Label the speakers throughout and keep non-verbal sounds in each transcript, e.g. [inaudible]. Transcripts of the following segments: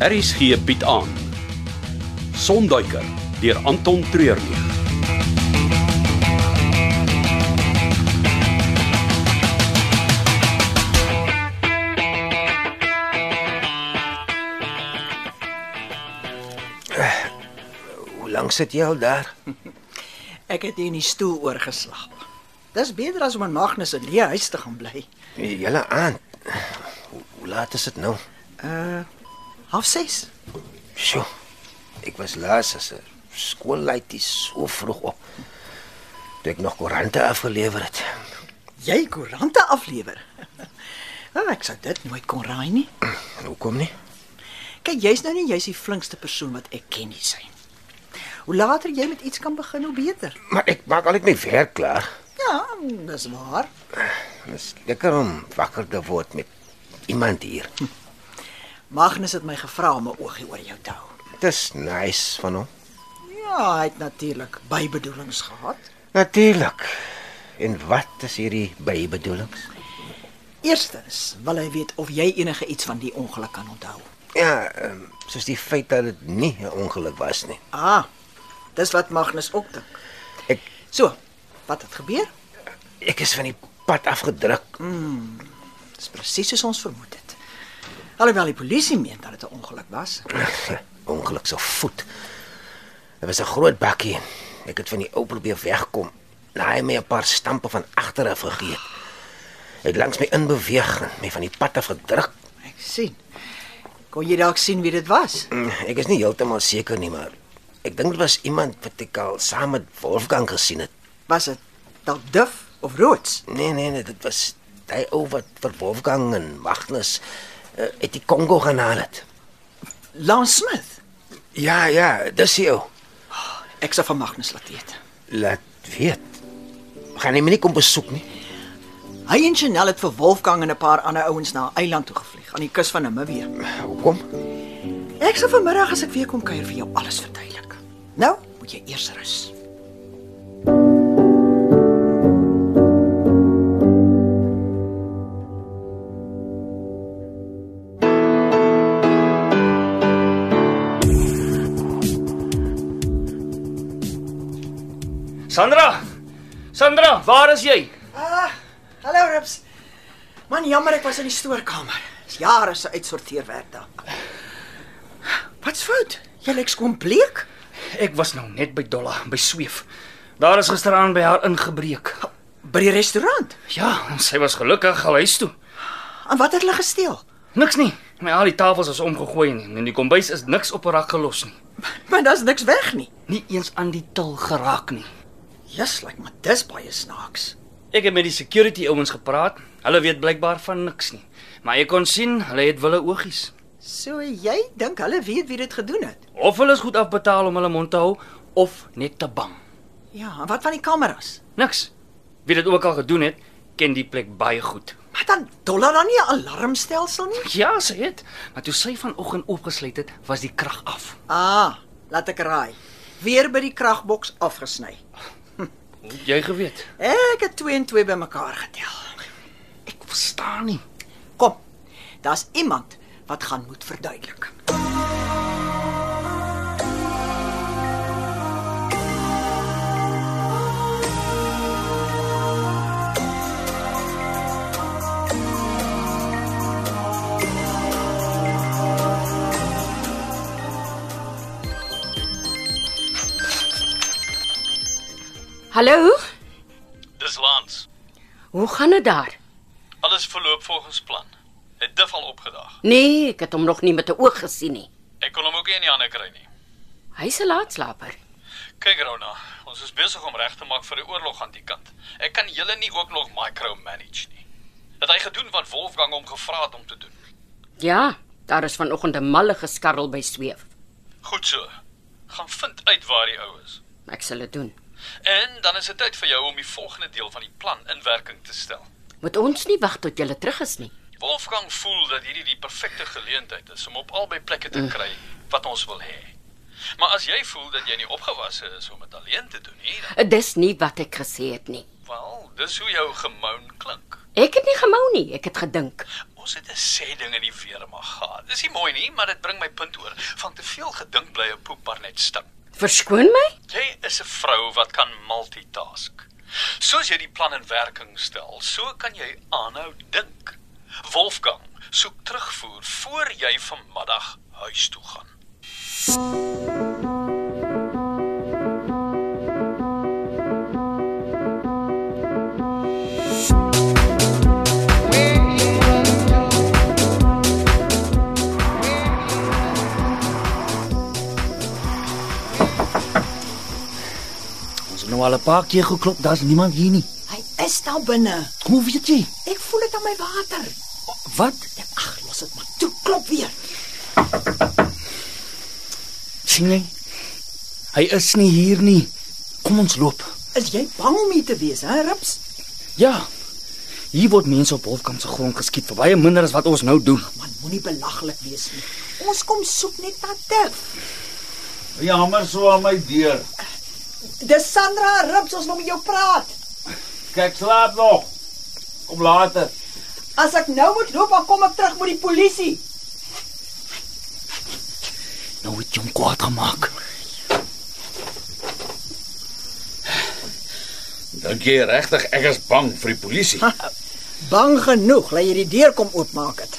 Speaker 1: RSG bied aan Sonduiker deur Anton Treurnig.
Speaker 2: Hoe lank sit jy al daar?
Speaker 3: Ek het hier in die stoel oorgeslaap. Dis beter as om in Magnus se leë huis te gaan bly.
Speaker 2: Die hele aand. Hoe, hoe laat is dit nou?
Speaker 3: Uh half 6.
Speaker 2: Sjoe. Ek was laas as 'n skoolleitie so vroeg op. Toe ek nog koerante afgelewer het.
Speaker 3: Jy koerante aflewer. [laughs] Wel, ek sou dit nooit kon raai nie.
Speaker 2: Hoekom nie?
Speaker 3: Kyk, jy's nou nie jy's die flinkste persoon wat ek ken hier syn. Hoe later jy met iets kan begin, hoe beter.
Speaker 2: Maar ek maak altyd my werk klaar.
Speaker 3: Ja, dis waar.
Speaker 2: Dis lekker om wakker te word met iemand hier.
Speaker 3: Magnus het my gevra om 'n oogie oor jou te hou.
Speaker 2: Dis nice van hom.
Speaker 3: Ja, hy het natuurlik bybedoelings gehad.
Speaker 2: Natuurlik. En wat is hierdie bybedoelings?
Speaker 3: Eerstens wil hy weet of jy enige iets van die ongeluk kan onthou.
Speaker 2: Ja, ehm, soos die feit dat dit nie 'n ongeluk was nie.
Speaker 3: Ah, dis wat Magnus ook dink.
Speaker 2: Ek
Speaker 3: So, wat het gebeur?
Speaker 2: ek is van die pad afgedruk.
Speaker 3: Dis presies soos ons vermoed het. Alhoewel die polisie meen dat dit 'n ongeluk was.
Speaker 2: Ongeluk se voet. Dit was 'n groot bakkie en ek het van die ou probeer wegkom. Na hy my 'n paar stampe van agter af gegee het. Hy het langs my inbeweeg en my van die pad af gedruk.
Speaker 3: Ek sien. Kon jy dalk sien wie dit was?
Speaker 2: Mm, Ek is nie heeltemal seker nie, maar ek dink dit was iemand wat ek al saam met Wolfgang gesien het.
Speaker 3: Was dit dalk Duf of Roots?
Speaker 2: Nee, nee, nee, dit was daai ou wat vir Wolfgang en Magnus eh, uit die Kongo gaan haal het.
Speaker 3: Lance Smith.
Speaker 2: Ja, ja, dis hy.
Speaker 3: Ek sal van Magnus laat weet.
Speaker 2: Laat weet. Gaan hy my nie kom besoek nie.
Speaker 3: Hy en Chanel het vir Wolfgang en 'n paar ander ouens na 'n eiland toe gevlieg aan die kus van Namibië.
Speaker 2: Hoekom?
Speaker 3: Ek sal vanmiddag as ek weer kom kuier vir jou alles verduidelik. Nou moet jy eers rus.
Speaker 4: Sandra! Sandra, waar is jy?
Speaker 3: Ah, hallo Rips. Man, jammer ek was in die stoorkamer. Dis jare se uitsorteerwerk daar. Wat's fout? Jy lyk skoon bleek.
Speaker 4: Ek was nou net by Dolla, by Sweef. Daar is gisteraand by haar ingebreek.
Speaker 3: By die restaurant.
Speaker 4: Ja, sy was gelukkig al huis toe.
Speaker 3: En wat het hulle gesteel?
Speaker 4: Niks nie. My al die tafels is omgegooi en in die kombuis is niks op 'n rak gelos nie.
Speaker 3: Maar daar's niks weg nie.
Speaker 4: Nie eens aan die til geraak nie.
Speaker 3: Jesus, lyk maar dis baie snaaks.
Speaker 4: Ek het met die security ouens gepraat. Hulle weet blykbaar van niks nie. Maar jy kon sien, hulle het wille oogies.
Speaker 3: So jy dink hulle weet wie dit gedoen het?
Speaker 4: Of hulle is goed afbetaal om hulle mond te hou of net te bang.
Speaker 3: Ja, en wat van die kameras?
Speaker 4: Niks. Wie dit ook al gedoen het, ken die plek baie goed.
Speaker 3: Maar dan dollar dan nie 'n alarmstelsel nie?
Speaker 4: Ja, sy het. Maar toe sy vanoggend opgesluit het, was die krag af.
Speaker 3: Ah, laat ek raai. Weer by die kragboks afgesny.
Speaker 4: Jy geweet.
Speaker 3: Ek het 2 en 2 bymekaar getel.
Speaker 4: Ek verstaan nie.
Speaker 3: Kom. Daar's iemand wat gaan moet verduidelik.
Speaker 5: Hallo,
Speaker 6: Dis Lance.
Speaker 5: hoe gaan dit daar?
Speaker 6: Alles verloop volgens plan. Het Diff al opgedaag.
Speaker 5: Nee, ek het hom nog nie met 'n oog gesien nie.
Speaker 6: Ek kon hom ook nie in die hande kry nie.
Speaker 5: Hy's 'n laatslaper.
Speaker 6: Kyk Rona, ons is besig om reg te maak vir die oorlog aan die kant. Ek kan julle nie ook nog micromanage nie. Het hy gedoen wat Wolfgang hom gevra het om te doen.
Speaker 5: Ja, daar is vanoggend 'n malle geskarrel by Sweef.
Speaker 6: Goed so. Gaan vind uit waar die ou is.
Speaker 5: Ek sal dit doen.
Speaker 6: En dan is dit tyd vir jou om die volgende deel van die plan in werking te stel.
Speaker 5: Moet ons nie wag tot jy terug is nie.
Speaker 6: Wolfgang voel dat hierdie die perfekte geleentheid is om op albei plekke te kry wat ons wil hê. Maar as jy voel dat jy nie opgewasse is om dit alleen te doen nie, dan
Speaker 5: Eh, Dis nie wat ek gesê het nie.
Speaker 6: Wel, dis hoe jou gemoun klink.
Speaker 5: Ek het nie gemou nie, ek het gedink.
Speaker 6: O, Ons het 'n sê ding in die weermag gehad. Dis nie mooi nie, maar dit bring my punt oor. Van te veel gedink bly 'n poep maar net stink.
Speaker 5: Verskoon my?
Speaker 6: Jy is 'n vrou wat kan multitask. Soos jy die plan in werking stel, so kan jy aanhou dink. Wolfgang, soek terugvoer voor jy vanmiddag huis toe gaan.
Speaker 4: Ons het nou al 'n paar keer geklop, daar's niemand hier nie.
Speaker 3: Hy is daar binne.
Speaker 4: Hoe weet jy?
Speaker 3: Ek voel dit aan my water. Ja,
Speaker 4: Wat?
Speaker 3: Ag, los dit maar. Toe klop weer.
Speaker 4: sien jy? Hy is nie hier nie. Kom ons loop.
Speaker 3: Is jy bang om hier te wees, hè, Rips?
Speaker 4: Ja. Hier word mense op Wolfgang se grond geskiet vir baie minder as wat ons nou doen.
Speaker 3: Man, moenie belaglik wees nie. Ons kom soek net na Dirk.
Speaker 1: Jammer so aan my deur.
Speaker 3: Dis Sandra Rips, ons wil met jou praat.
Speaker 1: Kyk, slaap nog. Kom later.
Speaker 3: As ek nou moet loop, dan kom ek terug met die polisie.
Speaker 4: Nou het jy hom kwaad gemaak.
Speaker 1: Dink jy regtig ek is bang vir die polisie?
Speaker 3: Bang genoeg, laat jy die deur kom oopmaak het.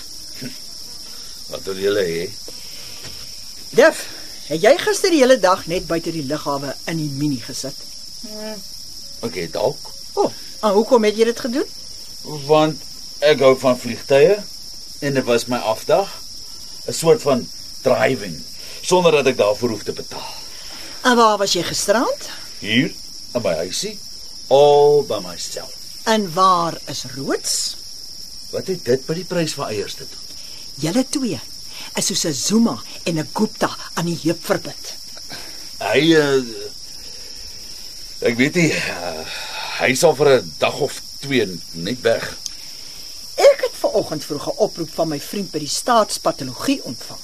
Speaker 1: Wat wil julle hê?
Speaker 3: Def, het jy gister die hele dag net buite die lughawe in die mini gesit?
Speaker 1: OK, dalk.
Speaker 3: O, oh, en hoekom het jy dit gedoen?
Speaker 1: Want ek hou van vliegtye en dit was my afdag. 'n Soort van driving sonder dat ek daarvoor hoef te betaal.
Speaker 3: En waar was jy gisterand?
Speaker 1: Hier in my huisie, all by myself.
Speaker 3: En waar is Roots?
Speaker 1: Wat het dit by die prys van eiers te doen?
Speaker 3: Julle twee is soos 'n Zuma en 'n Gupta aan die heup verbid.
Speaker 1: Hy uh, ek weet nie uh, hy sal vir 'n dag of twee net weg.
Speaker 3: Ek het ver oggend vroeg 'n oproep van my vriend by die staatspatologie ontvang.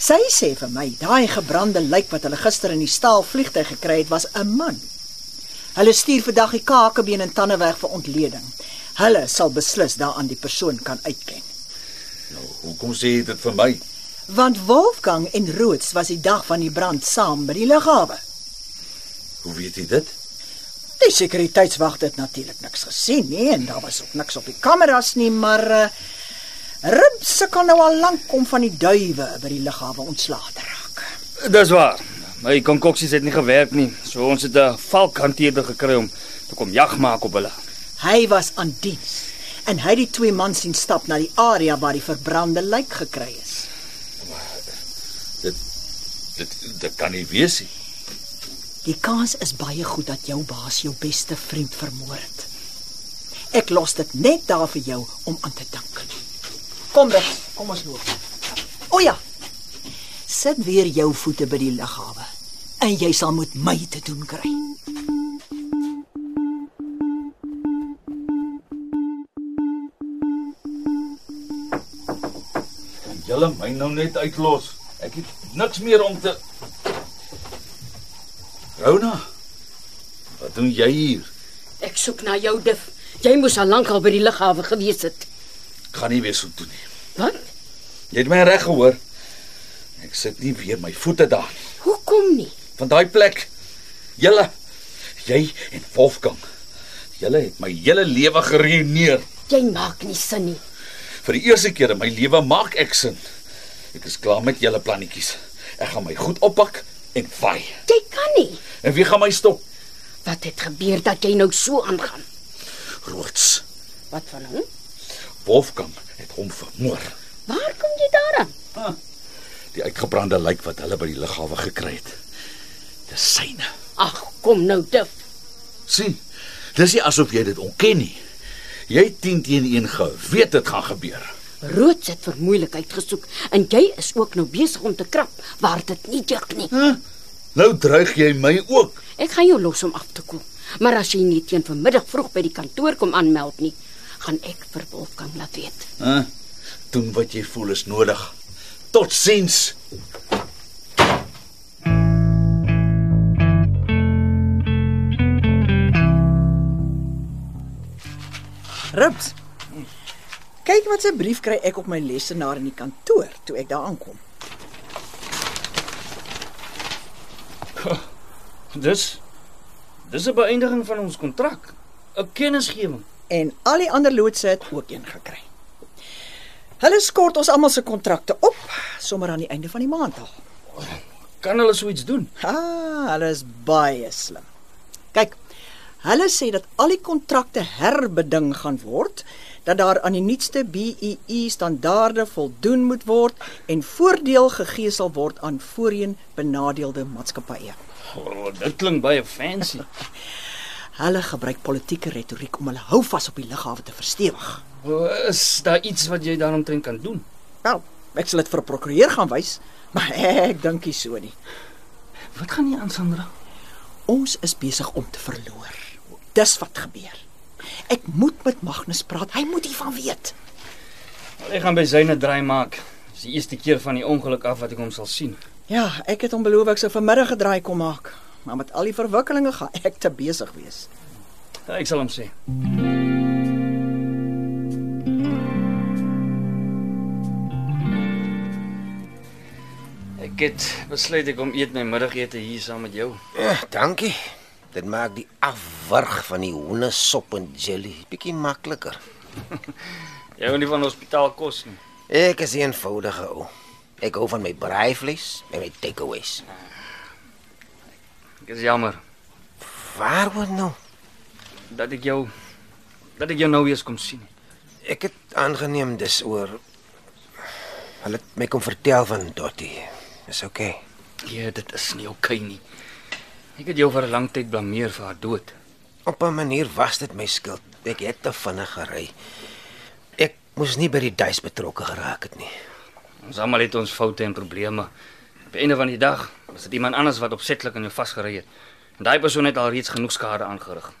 Speaker 3: Sy sê vir my, daai gebrande lijk wat hulle gister in die staal vliegtyg gekry het, was 'n man. Hulle stuur vandag die kakebeen en tande weg vir ontleding. Hulle sal beslis daaraan die persoon kan uitken.
Speaker 1: Nou, hoekom sê jy dit vir my?
Speaker 3: Want Wolfgang en Roots was die dag van die brand saam by die lughawe.
Speaker 1: Hoe weet jy dit?
Speaker 3: Die sekuriteitswagte het natuurlik niks gesien nie en daar was ook niks op die kameras nie, maar uh, Ripse kan nou al lank kom van die duwe by die lughawe ontslae te raak.
Speaker 4: Dis waar. My konkoksies het nie gewerk nie. So ons het 'n valkhanteerder gekry om te kom jag maak op hulle.
Speaker 3: Hy was aan diens en hy het die twee man sien stap na die area waar die verbrande lijk gekry is.
Speaker 1: Dit dit dit kan nie wees nie.
Speaker 3: Die kans is baie goed dat jou baas jou beste vriend vermoor het. Ek los dit net daar vir jou om aan te dink. Kom reg, kom ons loop. O ja. Sit weer jou voete by die lughawe en jy sal met my te doen kry.
Speaker 1: Kan julle my nou net uitlos? Ek het niks meer om te Rona. Wat doen jy hier?
Speaker 5: Ek soek na jou dif. Jy moes al lank al by die lughawe gewees het.
Speaker 1: Gaan nie weer so doen nie.
Speaker 5: Wat?
Speaker 1: Jy het my reg gehoor. Ek sit nie weer my voete daar nie.
Speaker 5: Hoekom nie?
Speaker 1: Van daai plek. Julle, jy en Wolfgang. Julle het my hele lewe geruïneer.
Speaker 5: Jy maak nie sin nie.
Speaker 1: Vir die eerste keer in my lewe maak ek sin. Ek is klaar met julle plannetjies. Ek gaan my goed oppak en vaai.
Speaker 5: Jy kan nie.
Speaker 1: En wie gaan my stop?
Speaker 5: Wat het gebeur dat jy nou so aangaan?
Speaker 1: Roots.
Speaker 5: Wat van hom?
Speaker 1: Wolfgang het hom vermoor.
Speaker 5: Waar kom jy daaraan?
Speaker 1: Die uitgebrande lijk wat hulle by die lughawe gekry het. Dis syne.
Speaker 5: Ag, kom nou dif.
Speaker 1: Sien. Dis nie asof jy dit onken nie. Jy het 10 teen 1 geweet dit gaan gebeur.
Speaker 5: Roots het vir moeilikheid gesoek en jy is ook nou besig om te krap waar dit nie juk nie.
Speaker 1: Huh? Nou dreig jy my ook.
Speaker 5: Ek gaan jou los om af te koel. Maar as jy nie teen vanmiddag vroeg by die kantoor kom aanmeld nie, gaan ek vir Wolfgang laat weet.
Speaker 1: Hæ? Doen wat jy voel is nodig. Totsiens.
Speaker 3: Rips. Kyk wat 'n brief kry ek op my lesenaar in die kantoor toe ek daar aankom.
Speaker 4: Dis dis 'n beëindiging van ons kontrak. 'n Kennisgewing.
Speaker 3: En al die ander loodse het ook een gekry. Hulle skort ons almal se kontrakte op sommer aan die einde van die maand al.
Speaker 4: Kan hulle so iets doen?
Speaker 3: Ah, hulle is baie slim. Kyk, hulle sê dat al die kontrakte herbeding gaan word, dat daar aan die nuutste BEE standaarde voldoen moet word en voordeel gegee sal word aan voorheen benadeelde maatskappye.
Speaker 4: Oh, dit klink baie fancy.
Speaker 3: Hulle gebruik politieke retoriek om hulle houvas op die lughawe te verstewig.
Speaker 4: O, Is daar iets wat jy daaromtrent kan doen?
Speaker 3: Wel, Nou, ek sal dit vir 'n prokureur gaan wys, maar ek dink nie so nie.
Speaker 4: Wat gaan nie aan Sandra?
Speaker 3: Ons is besig om te verloor. Dis wat gebeur. Ek moet met Magnus praat. Hy moet hiervan weet.
Speaker 4: Wel, Ek gaan by syne draai maak. Dis die eerste keer van die ongeluk af wat ek hom sal sien.
Speaker 3: Ja, ek het hom beloof ek sou vanmiddag 'n draai kom maak, maar met al die verwikkelinge gaan ek te besig wees.
Speaker 4: Ja, Ek sal hom sê. Ek het besluit ek kom eet my middagete hier saam met jou.
Speaker 2: Ja, dankie. Dit maak die afwurg van die hoendersop en jelly bietjie makliker.
Speaker 4: Jy hou nie van hospitaal kos nie.
Speaker 2: Ek is 'n eenvoudige ou. Ek hou van my braaivleis en my takeaways.
Speaker 4: Ek is jammer
Speaker 2: Waaroor nou?
Speaker 4: dat ek jou dat ek jou nou eers kom sien.
Speaker 2: Ek het aangeneem dis oor hulle het my kom vertel van Dotty. Dis oukei. Okay.
Speaker 4: Nee, dit is nie oukei okay nie. Ek het jou vir 'n lang tyd blameer vir haar dood.
Speaker 2: Op 'n manier was dit my skuld. Ek het te vinnig gery. Ek moes nie by die duis betrokke geraak het nie. [laughs]
Speaker 4: Ons almal het ons foute en probleme. Op die einde van die dag is dit iemand anders wat opsetlik aan jou vasgery het. En daai persoon het al reeds genoeg skade aangerig.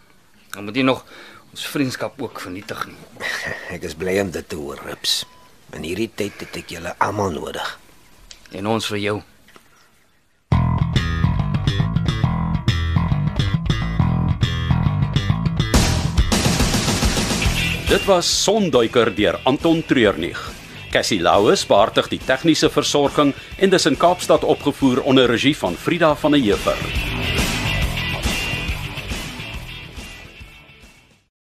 Speaker 4: Dan moet jy nog ons vriendskap ook vernietig nie.
Speaker 2: Ek is bly om dit te hoor, Rips. In hierdie tyd het ek julle almal nodig.
Speaker 4: En ons vir jou.
Speaker 7: Dit was Sonduiker deur Anton Treurnig. Cassie Louws beheerdig die tegniese versorging en dis in Kaapstad opgevoer onder regie van Frida van der Heever.